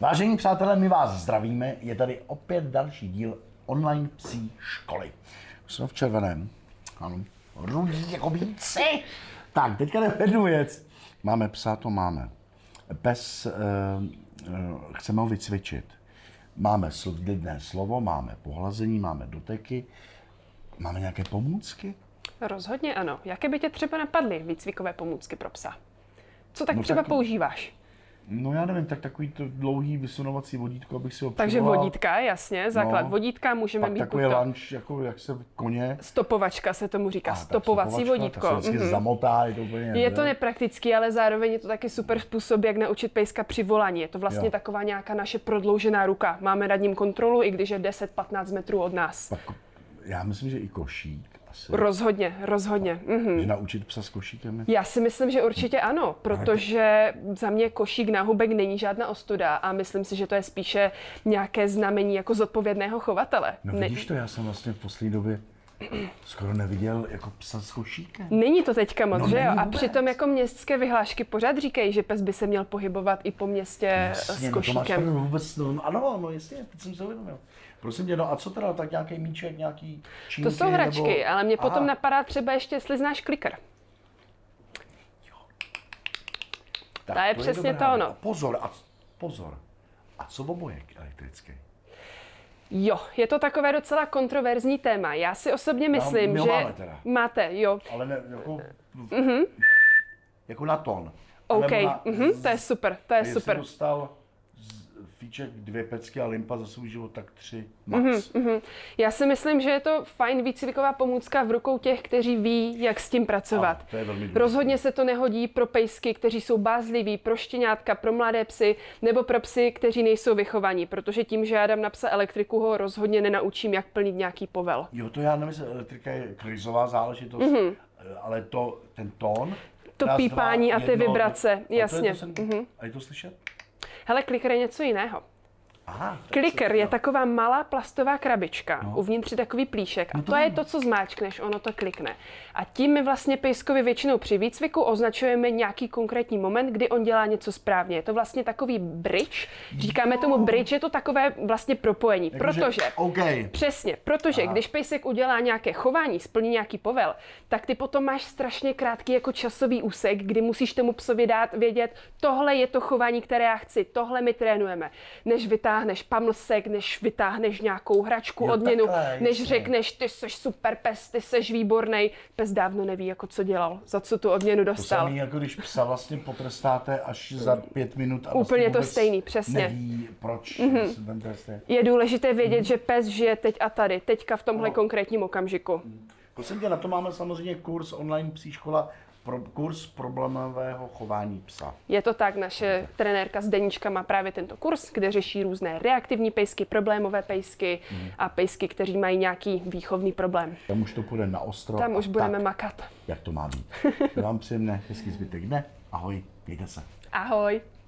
Vážení přátelé, my vás zdravíme. Je tady opět další díl online psí školy. Už jsme v červeném. Ano. Rudí jako bíci. Tak, teďka jdeme jednu věc. Máme psa, to máme. Pes, eh, eh, chceme ho vycvičit. Máme lidné slovo, máme pohlazení, máme doteky, máme nějaké pomůcky. Rozhodně ano. Jaké by tě třeba napadly výcvikové pomůcky pro psa? Co tak No třeba tak- používáš? No já nevím, tak takový to dlouhý vysunovací vodítko, abych si ho Takže přivolal. vodítka, jasně, základ No. vodítka, můžeme Pak mít takový buď to lanč, jako jak se koně. stopovačka se tomu říká, A, Ah, tak stopovací stopovačka, vodítko. Tak se vždycky Mhm. zamotá, je to úplně... jako- Je to ne? nepraktický, ale zároveň je to taky super způsob, jak naučit pejska při volání. Je to vlastně Jo. taková nějaká naše prodloužená ruka. Máme nad ním kontrolu, i když je 10-15 metrů od nás. Pak, já myslím, že i košík asi. Rozhodně, rozhodně. Mhm. Že naučit psa s košíkem je... Já si myslím, že určitě ano, protože za mě košík na hubek není žádná ostuda a myslím si, že to je spíše nějaké znamení jako zodpovědného chovatele. No Ne- vidíš to, já jsem vlastně v poslední době skoro neviděl jako psa s košíkem. Není to teďka moc, No, že není jo? A vůbec. přitom jako městské vyhlášky pořád říkají, že pes by se měl pohybovat i po městě Jasně, Eh, s no to máš košíkem. pravdu, vůbec, no, ano, no jasně, teď jsem se uvědomil. Prosím tě, no a co teda, tak nějaký míček, nějaký čínky, to jsou hračky, nebo... ale mě potom Aha. napadá třeba ještě, jestli znáš klikr. Tak Ta je přesně to no. ono. věc. A Pozor, a pozor. A co obojek elektrický? Jo, je to takové docela kontroverzní téma. Já si osobně myslím, No, my ho že máme teda. máte, jo. Ale ne, jako, jako na ton. Mhm. OK, Nebo na- mhm, to je super, to je Jestli super. dostal z fíček dvě pecky a limpa za svůj život, tak tři max. Mhm, Mm-hmm. Já si myslím, že je to fajn výcviková pomůcka v rukou těch, kteří ví, jak s tím pracovat. Ano, to je velmi důležité. Rozhodně se to nehodí pro pejsky, kteří jsou bázliví, pro štěňátka, pro mladé psy nebo pro psy, kteří nejsou vychovaní, protože tím, že já dám na psa elektriku, ho rozhodně nenaučím, jak plnit nějaký povel. Jo, to já nemyslím, elektrika je krizová záležitost, mm-hmm. ale to, ten tón. Mhm. To pípání a ty vibrace, a to je jasně. Mhm. To jsem, mm-hmm. A je to slyšet? Hele, klikr je něco jiného. Aha. tak Klikr se- je taková malá plastová krabička, no. uvnitř je takový plíšek. A to je to, co zmáčkneš, ono to klikne. A tím my vlastně pejskovi většinou při výcviku označujeme nějaký konkrétní moment, kdy on dělá něco správně. Je to vlastně takový bridge. Říkáme tomu bridge, je to takové vlastně propojení. Jakože- protože. OK. Přesně, protože když pejsek udělá nějaké chování, splní nějaký povel, tak ty potom máš strašně krátký jako časový úsek, kdy musíš tomu psovi dát vědět, tohle je to chování, které já chci, tohle my trénujeme. Než vytáhneš pamlsek, než vytáhneš nějakou hračku, Jo, odměnu, takhle, než jasně. řekneš, ty jsi super pes, ty jsi výborný. Pes dávno neví, jako co dělal, za co tu odměnu To dostal. samý, jako když psa vlastně potrestáte až za pět minut. A Úplně vlastně to vůbec stejný, přesně. Mhm. Neví, proč mm-hmm. ten trest je. Je důležité vědět, že pes žije teď a tady, teďka v No. tomhle konkrétním okamžiku. Prosím tě, na to máme samozřejmě kurz online psí škola, pro, kurz problémového chování psa. Je to tak, naše trenérka Zdeníčka má právě tento kurz, kde řeší různé reaktivní pejsky, problémové pejsky a pejsky, kteří mají nějaký výchovný problém. Tam už to půjde na ostro. Tam a už budeme tak, makat. Jak to má být. Já vám přeji hezký zbytek dne. Ahoj, mějte se. Ahoj!